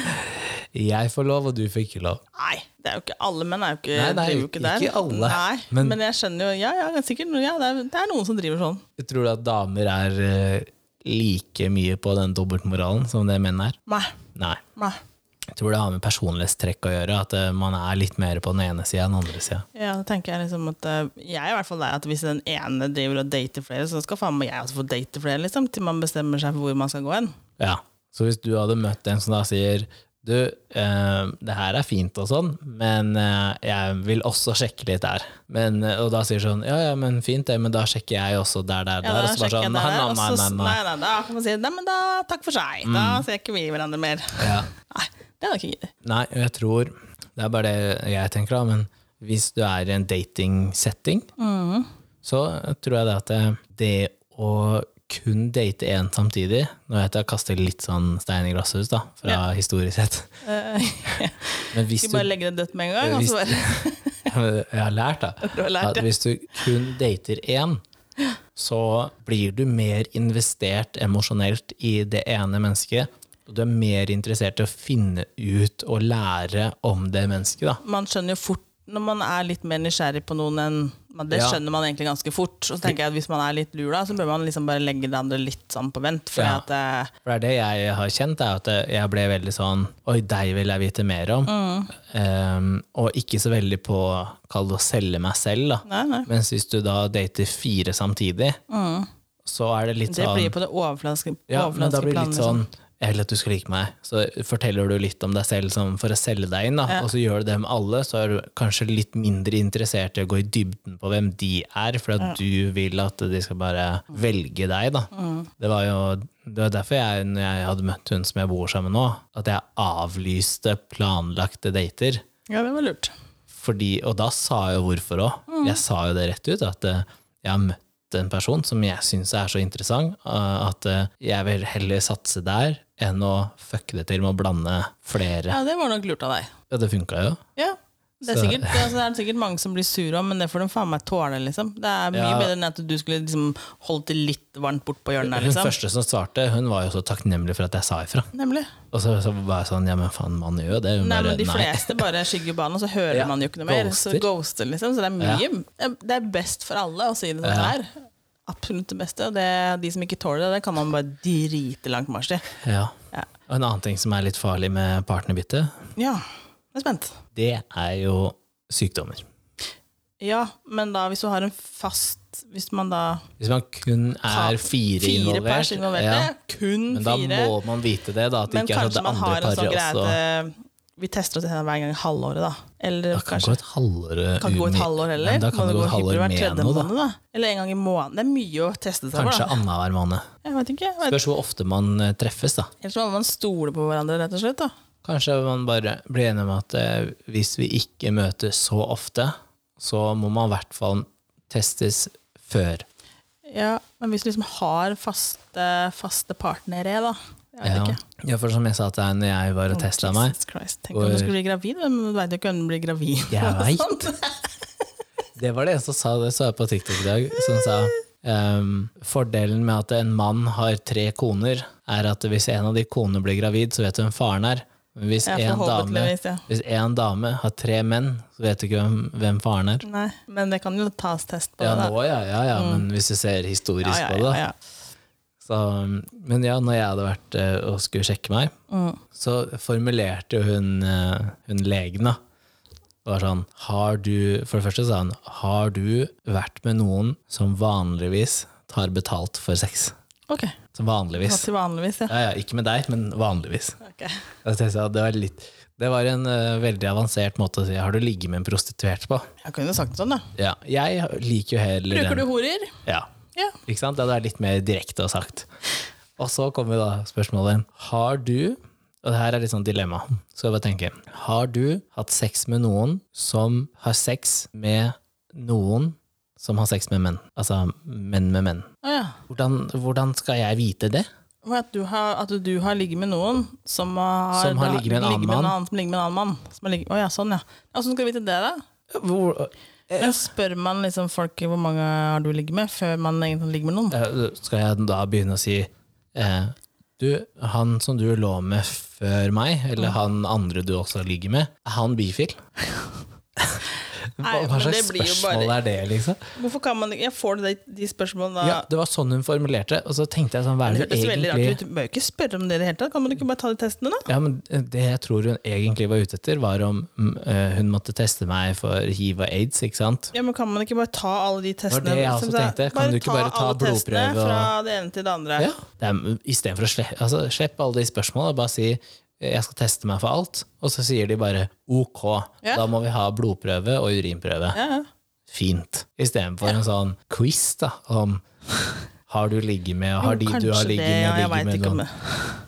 Speaker 1: Jeg får lov, og du får ikke lov.
Speaker 2: Nei, det er jo ikke alle menn er jo ikke,
Speaker 1: Nei, det er
Speaker 2: driver jo
Speaker 1: ikke
Speaker 2: ikke der.
Speaker 1: alle,
Speaker 2: Nei,
Speaker 1: men-
Speaker 2: men, jeg skjønner jo Ja, ja, det er sikkert noe- ja, det, er, det er noen som driver sånn.
Speaker 1: Tror du at damer er eh, like mye på den dobbeltmoralen som det menn er?
Speaker 2: Nei.
Speaker 1: Nei.
Speaker 2: nei.
Speaker 1: Jeg tror det har med personlighetstrekk å gjøre, at eh, man er litt mer på den ene sida enn den andre sida.
Speaker 2: Ja, da tenker jeg liksom at eh, Jeg er i hvert fall der at hvis den ene driver og dater flere, så skal faen meg jeg også få date flere, liksom, til man bestemmer seg for hvor man skal gå hen.
Speaker 1: Ja. Så hvis du hadde møtt en som da sier du, eh, det her er fint og sånn, men eh, jeg vil også sjekke litt der. Men, eh, og da sier sånn, ja ja, men fint det, men da sjekker jeg også der, der,
Speaker 2: Ja,
Speaker 1: der. Og så
Speaker 2: da
Speaker 1: bare
Speaker 2: sjekker jeg
Speaker 1: sånn,
Speaker 2: det
Speaker 1: nei,
Speaker 2: der,
Speaker 1: nei,
Speaker 2: og
Speaker 1: nei.
Speaker 2: så-
Speaker 1: nei, nei. Mm.
Speaker 2: nei, Da kan man si nei, men da takk for seg. Da ser ikke vi hverandre mer.
Speaker 1: Ja.
Speaker 2: Nei, det er nok ikke
Speaker 1: Nei, og jeg tror Det er bare det jeg tenker, da. Men hvis du er i en datingsetting, så tror jeg det at det, det å kun date én samtidig Nå vet jeg jeg kaster litt sånn stein i glasshus, da, fra historisk sett.
Speaker 2: Eh,
Speaker 1: Men hvis
Speaker 2: Skal
Speaker 1: du
Speaker 2: bare legge det dødt med en
Speaker 1: Eh,
Speaker 2: gang, altså. og så bare
Speaker 1: Jeg har lært, da.
Speaker 2: Du har lært
Speaker 1: at hvis du kun dater én, så blir du mer investert emosjonelt i det ene mennesket. Og du er mer interessert i å finne ut og lære om det mennesket, da.
Speaker 2: man skjønner jo fort når man er litt mer nysgjerrig på noen enn men Det
Speaker 1: Ja.
Speaker 2: skjønner man egentlig ganske fort. Og så tenker jeg at Hvis man er litt lur, da, så bør man liksom bare legge det andre litt sånn på vent. For
Speaker 1: Ja.
Speaker 2: at eh,
Speaker 1: For det er det jeg har kjent, er at jeg ble veldig sånn Oi, deg vil jeg vite mer om.
Speaker 2: Mm.
Speaker 1: Ehm, og ikke så veldig på kall det å selge meg selv, da.
Speaker 2: Nei, nei.
Speaker 1: Mens hvis du da dater fire samtidig, så er det litt
Speaker 2: Det
Speaker 1: sånn
Speaker 2: blir på det overfladiske
Speaker 1: Ja, men da
Speaker 2: overfladiske
Speaker 1: blir det litt
Speaker 2: planet,
Speaker 1: sånn
Speaker 2: liksom.
Speaker 1: Jeg vil at du skal like meg. Så forteller du litt om deg selv som for å selge deg inn, da. og så gjør du det med alle. Så er du kanskje litt mindre interessert i å gå i dybden på hvem de er, for at du vil at de skal bare velge deg. da. Det var jo det var derfor jeg, når jeg hadde møtt hun som jeg bor sammen med nå, at jeg avlyste planlagte dater.
Speaker 2: Ja, det var lurt.
Speaker 1: Fordi, og da sa jeg jo hvorfor òg.
Speaker 2: Mm.
Speaker 1: Jeg sa jo det rett ut, at eh, jeg har møtt en person som jeg syns er så interessant, eh, at eh, jeg vil heller satse der enn å fucke det til med å blande flere.
Speaker 2: Ja, det var nok lurt av deg.
Speaker 1: Ja, det funka jo.
Speaker 2: Ja, det er,
Speaker 1: Så-
Speaker 2: sikkert, det, altså, det er sikkert mange som blir sure om, men det får de faen meg tåle. liksom. Det er mye
Speaker 1: Ja.
Speaker 2: bedre enn at du skulle liksom, holdt det litt varmt bort på hjørnet. her,
Speaker 1: Hun
Speaker 2: liksom.
Speaker 1: første som svarte, hun var jo så takknemlig for at jeg sa ifra.
Speaker 2: Nemlig.
Speaker 1: Og så, så var jeg sånn, ja, men faen, man gjør jo det. Hun
Speaker 2: Nei,
Speaker 1: bare,
Speaker 2: men De
Speaker 1: nei.
Speaker 2: fleste bare skygger banen, og så hører
Speaker 1: Ja,
Speaker 2: man jo ikke noe mer. Så
Speaker 1: ghoster.
Speaker 2: ghoster liksom, så det er mye. Det er best for alle å si det sånn her. Absolutt det beste. Og det, de som ikke tåler det, det kan man bare drite langt marsj i.
Speaker 1: Ja.
Speaker 2: Ja.
Speaker 1: Og en annen ting som er litt farlig med partnerbytte,
Speaker 2: Ja, jeg er spent.
Speaker 1: det er jo sykdommer.
Speaker 2: Ja, men da hvis du har en fast Hvis man da
Speaker 1: Hvis man kun er
Speaker 2: har
Speaker 1: fire,
Speaker 2: fire pers involvert,
Speaker 1: ja,
Speaker 2: kun
Speaker 1: Men da
Speaker 2: fire
Speaker 1: må man vite det, da. At det
Speaker 2: Men
Speaker 1: ikke er sånn
Speaker 2: kanskje
Speaker 1: at det
Speaker 2: man har
Speaker 1: andre
Speaker 2: en sånn
Speaker 1: paret
Speaker 2: greie at
Speaker 1: også
Speaker 2: eh, vi tester oss hver gang i halvåret, da. Eller
Speaker 1: Det kan
Speaker 2: kanskje
Speaker 1: gå et halvår
Speaker 2: kan ikke gå et
Speaker 1: umi-
Speaker 2: halvår heller.
Speaker 1: Nei, Da kan
Speaker 2: Må
Speaker 1: det gå et halvår
Speaker 2: hver
Speaker 1: med
Speaker 2: tredje
Speaker 1: noe, da.
Speaker 2: måned, da. Eller en gang i måneden. Det er mye å teste seg på.
Speaker 1: Kanskje
Speaker 2: da.
Speaker 1: annenhver måned.
Speaker 2: Jeg vet ikke. Jeg vet.
Speaker 1: Spørs hvor ofte man eh, treffes, da.
Speaker 2: Ellers må man stole på hverandre, rett og slett. da.
Speaker 1: Kanskje man bare blir enig om at eh, hvis vi ikke møtes så ofte, så må man i hvert fall testes før.
Speaker 2: Ja, Men hvis du liksom har faste, faste partnere, da. Jeg vet
Speaker 1: Ja.
Speaker 2: ikke.
Speaker 1: ja, for som jeg sa til deg når jeg var og testa meg,
Speaker 2: Jesus Christ. Tenk om du skulle bli gravid. Hvem veit jo ikke hvem du blir gravid
Speaker 1: Jeg
Speaker 2: med, og
Speaker 1: vet.
Speaker 2: sånt.
Speaker 1: det var det en som sa det, så jeg på TikTok i dag, som sa ehm, fordelen med at en mann har tre koner, er at hvis en av de konene blir gravid, så vet du hvem faren er. Men hvis
Speaker 2: Ja,
Speaker 1: en dame
Speaker 2: forhåpentligvis, ja.
Speaker 1: Hvis en dame har tre menn, så vet du ikke hvem, hvem faren er.
Speaker 2: Nei, Men det kan jo tas test på.
Speaker 1: Ja,
Speaker 2: det, da. Mm.
Speaker 1: nå, ja, ja, ja, men hvis du ser historisk
Speaker 2: ja, ja,
Speaker 1: på det,
Speaker 2: ja, ja.
Speaker 1: da, Så, men ja, når jeg hadde vært eh, og skulle sjekke meg,
Speaker 2: Mm.
Speaker 1: så formulerte jo hun, eh, hun legen da, det var sånn, har du, for det første sa hun, har du vært med noen som vanligvis tar betalt for sex?
Speaker 2: Ok.
Speaker 1: Som vanligvis.
Speaker 2: Til vanligvis, ja.
Speaker 1: Ja, ja, ikke med deg, men vanligvis.
Speaker 2: Ok.
Speaker 1: Da tenkte jeg at Det var, litt, det var en eh, veldig avansert måte å si har du ligget med en prostituert på?
Speaker 2: Jeg kunne sagt det sånn, da.
Speaker 1: Ja, jeg liker jo heller
Speaker 2: Bruker du
Speaker 1: den.
Speaker 2: horer?
Speaker 1: Ja,
Speaker 2: Ja.
Speaker 1: ikke sant? Det hadde vært litt mer direkte og sagt. Og så kommer da spørsmålet Har du, og det her er litt sånn dilemma, så jeg bare tenker, har du hatt sex med noen som har sex med noen som har sex med menn? Altså menn med menn.
Speaker 2: Å ja.
Speaker 1: Hvordan, hvordan skal jeg vite det?
Speaker 2: Og At du, har, at du har ligget med noen som har,
Speaker 1: Som har ligget med en annen mann.
Speaker 2: Som ligger med en annen mann. Som har ligget, å ja, sånn, ja. Ja, Åssen skal du vite det, da?
Speaker 1: Hvor,
Speaker 2: Men spør man liksom folk hvor mange har du ligget med, før man egentlig ligger med noen?
Speaker 1: Eh, Skal jeg da begynne å si eh, Du, han som du lå med før meg, eller
Speaker 2: Mm.
Speaker 1: han andre du også ligger med, er han bifil? Hva,
Speaker 2: Nei,
Speaker 1: hva
Speaker 2: men
Speaker 1: slags
Speaker 2: det blir jo
Speaker 1: spørsmål
Speaker 2: bare-
Speaker 1: er det, liksom?
Speaker 2: Hvorfor kan man ikke Jeg får de, de spørsmålene da.
Speaker 1: Ja, det var sånn hun formulerte det, og så tenkte jeg sånn, hva er det
Speaker 2: det hørtes
Speaker 1: hun
Speaker 2: veldig
Speaker 1: egentlig
Speaker 2: rart ut. Du bør jo ikke spørre om det i det hele tatt. Kan man ikke bare ta de testene, da?
Speaker 1: ja, men eh, Det jeg tror hun egentlig var ute etter, var om mm, eh, hun måtte teste meg for hiv og aids, ikke sant?
Speaker 2: Ja, men Kan man ikke bare ta alle de
Speaker 1: var
Speaker 2: testene? Liksom,
Speaker 1: det jeg også
Speaker 2: som sa-
Speaker 1: tenkte. Kan du ikke bare ta
Speaker 2: alle testene
Speaker 1: blodprøve og-
Speaker 2: Fra det ene til det andre.
Speaker 1: Ja. Det er, mm, I stedet for å slippe, altså, slipp alle de spørsmålene og bare si eh, jeg skal teste meg for alt, og så sier de bare ok,
Speaker 2: Ja.
Speaker 1: da må vi ha blodprøve og urinprøve.
Speaker 2: Ja, ja.
Speaker 1: fint. Istedenfor en sånn quiz da, om har du ligget med, og har de du har
Speaker 2: Kanskje
Speaker 1: ligget
Speaker 2: det,
Speaker 1: med,
Speaker 2: og jeg
Speaker 1: ligget
Speaker 2: vet
Speaker 1: med
Speaker 2: ikke om
Speaker 1: noen?
Speaker 2: det.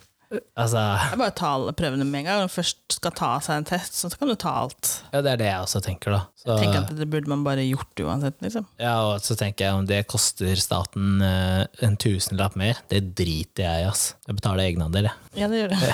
Speaker 1: Altså,
Speaker 2: Jeg bare tar alle prøvene med en gang. Når du først skal ta seg en test, så kan du ta alt.
Speaker 1: ja, det er det jeg også tenker, da. Så,
Speaker 2: Tenk at det burde man bare gjort uansett, liksom.
Speaker 1: ja, og så tenker jeg om det koster staten eh, en tusenlapp mer, det driter jeg i, ass. Jeg betaler egenandel, jeg.
Speaker 2: Ja, det gjør det.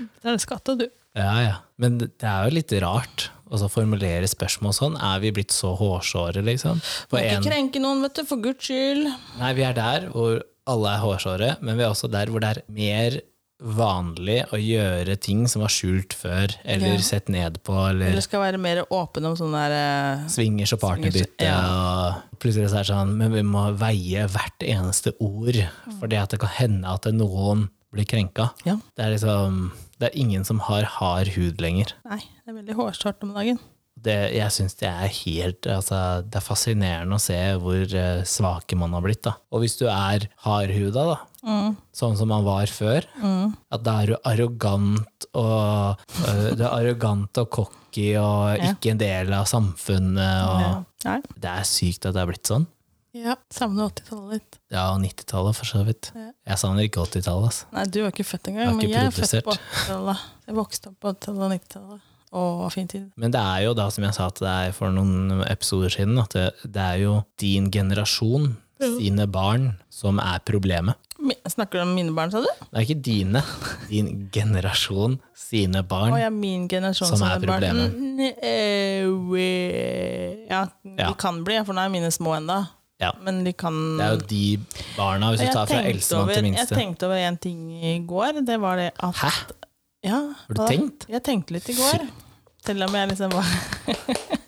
Speaker 2: Det er det skatt, og du.
Speaker 1: Ja, ja. Men det er jo litt rart altså, å så formulere spørsmål sånn. Er vi blitt så hårsåre, liksom? På
Speaker 2: Må ikke
Speaker 1: en,
Speaker 2: krenke noen, vet du, for guds skyld.
Speaker 1: nei, vi er der hvor alle er hårsåre, men vi er også der hvor det er mer vanlig å gjøre ting som var skjult før, eller
Speaker 2: Ja.
Speaker 1: sett ned på, eller
Speaker 2: Eller skal være mer åpen om sånne der eh,
Speaker 1: Swingers og partnerbytte. Og plutselig så er det sånn, men vi må veie hvert eneste ord, for det at det kan hende at noen blir krenka.
Speaker 2: Ja.
Speaker 1: Det er liksom Det er ingen som har hard hud lenger.
Speaker 2: Nei, det er veldig hårsårt om dagen.
Speaker 1: Det, jeg syns det er helt altså, Det er fascinerende å se hvor eh, svake man har blitt. Da. Og hvis du er hardhuda, da,
Speaker 2: Mm.
Speaker 1: sånn som man var før,
Speaker 2: Mm.
Speaker 1: at da er du arrogant og eh, Du er arrogant og cocky og
Speaker 2: Ja.
Speaker 1: ikke en del av samfunnet. Og,
Speaker 2: Ja. Nei.
Speaker 1: Det er sykt at det er blitt sånn.
Speaker 2: Ja, Savner 80-tallet litt.
Speaker 1: Ja, og 90-tallet for så vidt.
Speaker 2: Ja.
Speaker 1: Jeg savner ikke 80-tallet. Altså.
Speaker 2: Nei, du var ikke født
Speaker 1: Jeg
Speaker 2: engang,
Speaker 1: har
Speaker 2: men
Speaker 1: ikke
Speaker 2: jeg er
Speaker 1: produsert.
Speaker 2: født på 80-tallet. Jeg vokste opp på 80-tallet og 90-tallet. Å, fin tid.
Speaker 1: Men det er jo da, som jeg sa til deg for noen episoder siden, at det, det er jo din generasjon, sine barn, som er problemet.
Speaker 2: Mi- Snakker du om mine barn, sa du?
Speaker 1: Det er ikke dine, din generasjon, sine
Speaker 2: Å
Speaker 1: barn.
Speaker 2: ja, min generasjon
Speaker 1: Mm. Som er
Speaker 2: det bare-
Speaker 1: problemet.
Speaker 2: Mm, eh, we- Ja,
Speaker 1: Ja.
Speaker 2: de kan bli, for nå er mine små enda.
Speaker 1: Ja.
Speaker 2: Men de kan
Speaker 1: Det er jo de barna, hvis du
Speaker 2: Jeg
Speaker 1: tar fra
Speaker 2: tenkte
Speaker 1: eldstemann
Speaker 2: over-
Speaker 1: til
Speaker 2: Jeg
Speaker 1: minste.
Speaker 2: tenkte over en ting i går. Det var det at
Speaker 1: Hæ?
Speaker 2: Ja,
Speaker 1: Har du
Speaker 2: hva da?
Speaker 1: tenkt?
Speaker 2: Jeg tenkte litt i går. Selv om jeg liksom var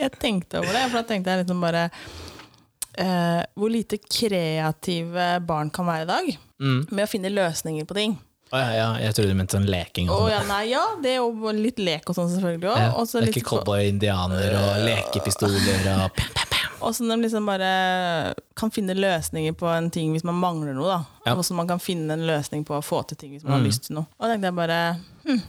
Speaker 2: Jeg tenkte over det, for da tenkte jeg liksom bare eh, Hvor lite kreative barn kan være i dag
Speaker 1: Mm.
Speaker 2: med å finne løsninger på ting.
Speaker 1: Å ja, ja, jeg trodde du mente sånn leking.
Speaker 2: Å
Speaker 1: Og sånn.
Speaker 2: ja, nei, ja, det er jo litt lek og sånn selvfølgelig
Speaker 1: Ja,
Speaker 2: òg.
Speaker 1: det er ikke cowboy-indianer
Speaker 2: Øh.
Speaker 1: og lekepistoler og pam, pam, pam.
Speaker 2: Og så de liksom bare kan finne løsninger på en ting hvis man mangler noe. da.
Speaker 1: Ja.
Speaker 2: Og så man kan finne en løsning på å få til ting hvis man har
Speaker 1: Mm.
Speaker 2: lyst til noe. Og da tenkte jeg bare, hm,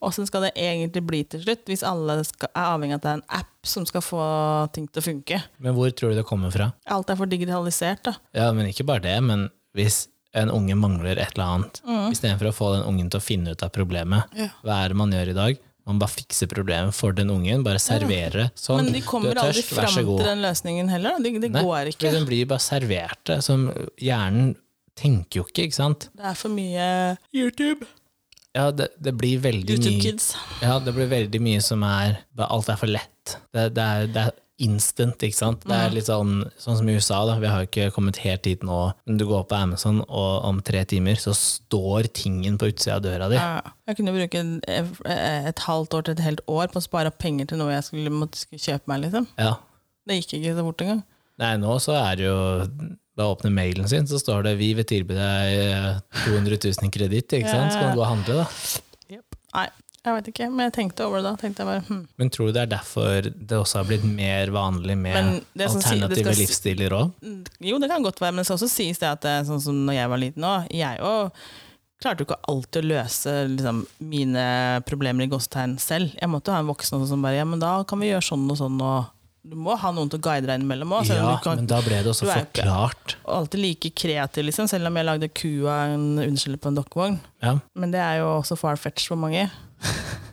Speaker 2: Åssen skal det egentlig bli til slutt, hvis alle skal, er avhengig av at det er en app som skal få ting til å funke?
Speaker 1: Men hvor tror du det kommer fra?
Speaker 2: Alt er for digitalisert, da.
Speaker 1: Ja, men ikke bare det, men hvis en unge mangler et eller annet, istedenfor å få den ungen til å finne ut av problemet,
Speaker 2: Mm. Ja.
Speaker 1: hva er det man gjør i dag? Man bare fikser problemet for den ungen, bare serverer det. Sånn,
Speaker 2: Men de kommer aldri fram til den løsningen heller. Da. Det, det går
Speaker 1: for
Speaker 2: ikke.
Speaker 1: Den blir bare servert det, som hjernen tenker jo ikke, ikke sant?
Speaker 2: Det er for mye YouTube.
Speaker 1: Ja, det, det blir veldig
Speaker 2: YouTube
Speaker 1: mye
Speaker 2: Kids.
Speaker 1: Ja, det blir veldig mye som er bare Alt er for lett. Det, det, er, det er instant, ikke sant. Det er
Speaker 2: Mm.
Speaker 1: litt sånn, sånn som i USA, da. Vi har jo ikke kommet helt dit nå. Men du går på Amazon, og om tre timer så står tingen på utsida av døra di.
Speaker 2: Ja. Jeg kunne bruke en- et halvt år til et helt år på å spare opp penger til noe jeg skulle, måtte skulle kjøpe meg. liksom.
Speaker 1: Ja.
Speaker 2: Det gikk ikke så fort engang.
Speaker 1: Nei, nå så er det jo da åpner mailen sin, så står det 'vi vil tilby deg eh, 200 000 i kreditt', ikke sant? Så kan du gå og handle, da.
Speaker 2: Nei, jeg vet ikke, men jeg tenkte over det da. Tenkte jeg bare, hm.
Speaker 1: Men tror du det er derfor det også har blitt mer vanlig med
Speaker 2: Men det som sier- det
Speaker 1: alternative
Speaker 2: skal si-
Speaker 1: livsstiler òg?
Speaker 2: Jo, det kan godt være, men det skal også sies det at det er sånn som når jeg var liten òg, jeg òg klarte jo ikke alltid å løse liksom, mine problemer i gåsetegn selv. Jeg måtte jo ha en voksen også som bare ja, men da kan vi gjøre sånn og sånn og Du må ha noen til å guide deg innimellom òg, selv om
Speaker 1: Ja,
Speaker 2: du kan
Speaker 1: men da ble det også
Speaker 2: du er jo ikke-
Speaker 1: forklart.
Speaker 2: alltid like kreativ, liksom, selv om jeg lagde kua en underskjell på en dokkevogn.
Speaker 1: Ja.
Speaker 2: Men det er jo også far-fetched for mange.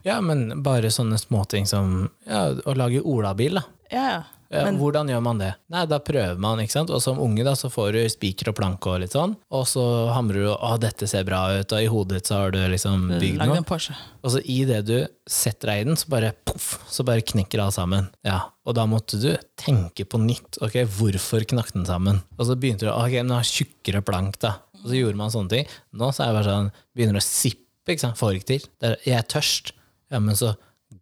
Speaker 1: ja, men bare sånne småting som ja, å lage olabil, da.
Speaker 2: Ja, ja.
Speaker 1: Ja, hvordan gjør man det? Nei, Da prøver man, ikke sant? og som unge da, så får du spiker og planke, og litt sånn, og så hamrer du å, dette ser bra ut, og i hodet ditt så har du liksom bygd
Speaker 2: Lagde
Speaker 1: noe.
Speaker 2: en Porsche.
Speaker 1: Og så i det du setter deg i den, så bare poff, så bare knekker alt sammen. Ja, Og da måtte du tenke på nytt. ok, Hvorfor knakk den sammen? Og så begynte du ok, men jeg har tjukkere plank, da. Og så gjorde man sånne ting. Nå så er jeg bare sånn, begynner å sippe, ikke sant? får ikke til. Det er, jeg er tørst. Ja, men så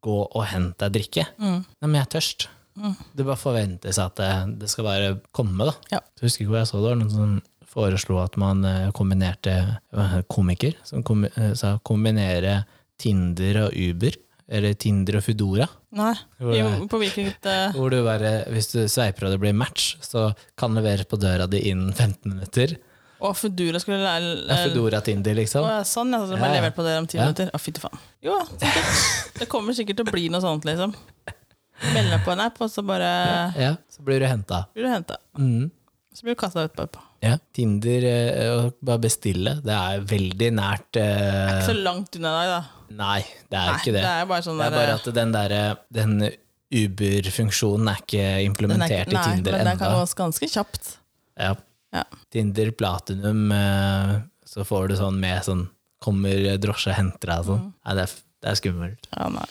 Speaker 1: gå og hent deg drikke. Nei, men jeg er tørst. Det bare forventes at det, det skal bare komme, da.
Speaker 2: Ja.
Speaker 1: Jeg husker ikke hvor jeg så det, det var noen som foreslo at man eh, kombinerte eh, komiker, som kom, eh, sa kombinere Tinder og Uber, eller Tinder og Foodora.
Speaker 2: Nei.
Speaker 1: Hvor
Speaker 2: Jo,
Speaker 1: er-
Speaker 2: på hvilket eh,
Speaker 1: Hvor du bare, hvis du sveiper og det blir match, så kan leveres på døra di innen 15 minutter.
Speaker 2: Å, Foodora skulle
Speaker 1: Det
Speaker 2: lære
Speaker 1: er Foodora Tinder, liksom.
Speaker 2: Å, Sånn, ja. Så det ble
Speaker 1: Ja, ja.
Speaker 2: levert på dere om ti
Speaker 1: Ja.
Speaker 2: minutter. Å, fytti faen. Jo, da, sikkert. Det kommer sikkert til å bli noe sånt, liksom. Meld deg på en app, og så bare
Speaker 1: Ja, så blir du henta.
Speaker 2: blir du henta.
Speaker 1: Mm.
Speaker 2: Så blir du kasta ut på etterpå.
Speaker 1: Ja. Tinder eh, og bare bestille, det er veldig nært eh,
Speaker 2: Så langt unna i dag, da.
Speaker 1: Nei, det er
Speaker 2: Nei,
Speaker 1: ikke det.
Speaker 2: er bare sånn
Speaker 1: Det er bare
Speaker 2: der,
Speaker 1: at den derre den Uber-funksjonen er ikke
Speaker 2: den er
Speaker 1: implementert
Speaker 2: ikke- nei,
Speaker 1: i Tinder
Speaker 2: Men det kan
Speaker 1: ennå.
Speaker 2: gås ganske kjapt.
Speaker 1: Ja.
Speaker 2: Ja.
Speaker 1: Tinder Platinum, eh, så får du sånn med sånn Kommer drosje og henter deg og
Speaker 2: Mm.
Speaker 1: sånn. Nei, det er, f- det er skummelt.
Speaker 2: Ja, nei.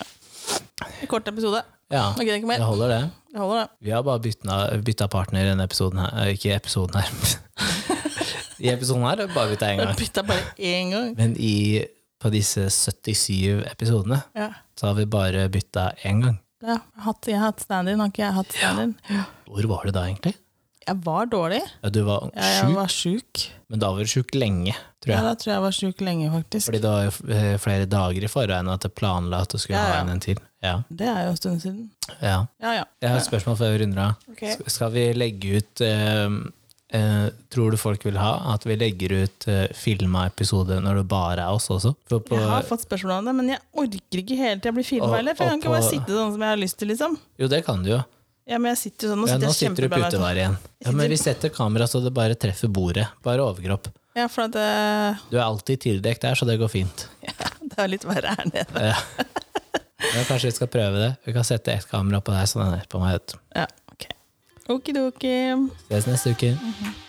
Speaker 2: En kort episode.
Speaker 1: Ja,
Speaker 2: Jeg gidder
Speaker 1: det
Speaker 2: ikke mer.
Speaker 1: holder det.
Speaker 2: Jeg holder det.
Speaker 1: Vi har bare bytna- bytta partner i denne episoden her. eh, Ikke i episoden her. I episoden her har vi bare bytta én
Speaker 2: Jeg
Speaker 1: gang.
Speaker 2: bytta bare én gang.
Speaker 1: Men i, på disse 77 episodene
Speaker 2: Ja.
Speaker 1: så har vi bare bytta én gang.
Speaker 2: Ja, jeg har hatt- jeg har hatt stand-in, har ikke jeg hatt stand-in?
Speaker 1: Hvor var du da, egentlig?
Speaker 2: Jeg var dårlig.
Speaker 1: Ja, du var
Speaker 2: Jeg, jeg
Speaker 1: sjuk,
Speaker 2: var sjuk.
Speaker 1: men da var du sjuk lenge, tror
Speaker 2: Ja,
Speaker 1: jeg.
Speaker 2: da tror jeg jeg var sjuk lenge, faktisk.
Speaker 1: Fordi det var jo f- eh, flere dager i forveien at jeg planla at du skulle
Speaker 2: Ja,
Speaker 1: ha
Speaker 2: ja.
Speaker 1: en en til. Ja,
Speaker 2: Det er jo en stund siden.
Speaker 1: ja.
Speaker 2: Ja, ja.
Speaker 1: Jeg har et spørsmål før vi runder av.
Speaker 2: Ok.
Speaker 1: S- Skal vi legge ut eh, eh, Tror du folk vil ha at vi legger ut eh, filma episode når det bare er oss også? For på,
Speaker 2: Jeg har fått spørsmål om det, men jeg orker ikke hele tida bli filma
Speaker 1: Og-
Speaker 2: heller. For jeg kan
Speaker 1: og
Speaker 2: ikke
Speaker 1: på-
Speaker 2: bare sitte sånn som jeg har lyst til, liksom.
Speaker 1: jo, det kan du jo.
Speaker 2: Ja, men jeg sitter jo sånn, nå
Speaker 1: Ja,
Speaker 2: sitter
Speaker 1: nå
Speaker 2: jeg
Speaker 1: sitter du
Speaker 2: kjempebra. med-
Speaker 1: putevar igjen. Ja, men vi setter kamera så det bare treffer bordet. Bare overkropp.
Speaker 2: Ja, for at eh,
Speaker 1: Du er alltid tildekt der, så det går fint.
Speaker 2: det er litt verre her nede.
Speaker 1: Men kanskje vi skal prøve det. Vi kan sette ett sånn kamera på deg, så den er på meg. vet du.
Speaker 2: Ja, ok. Okidoki.
Speaker 1: Ses neste uke.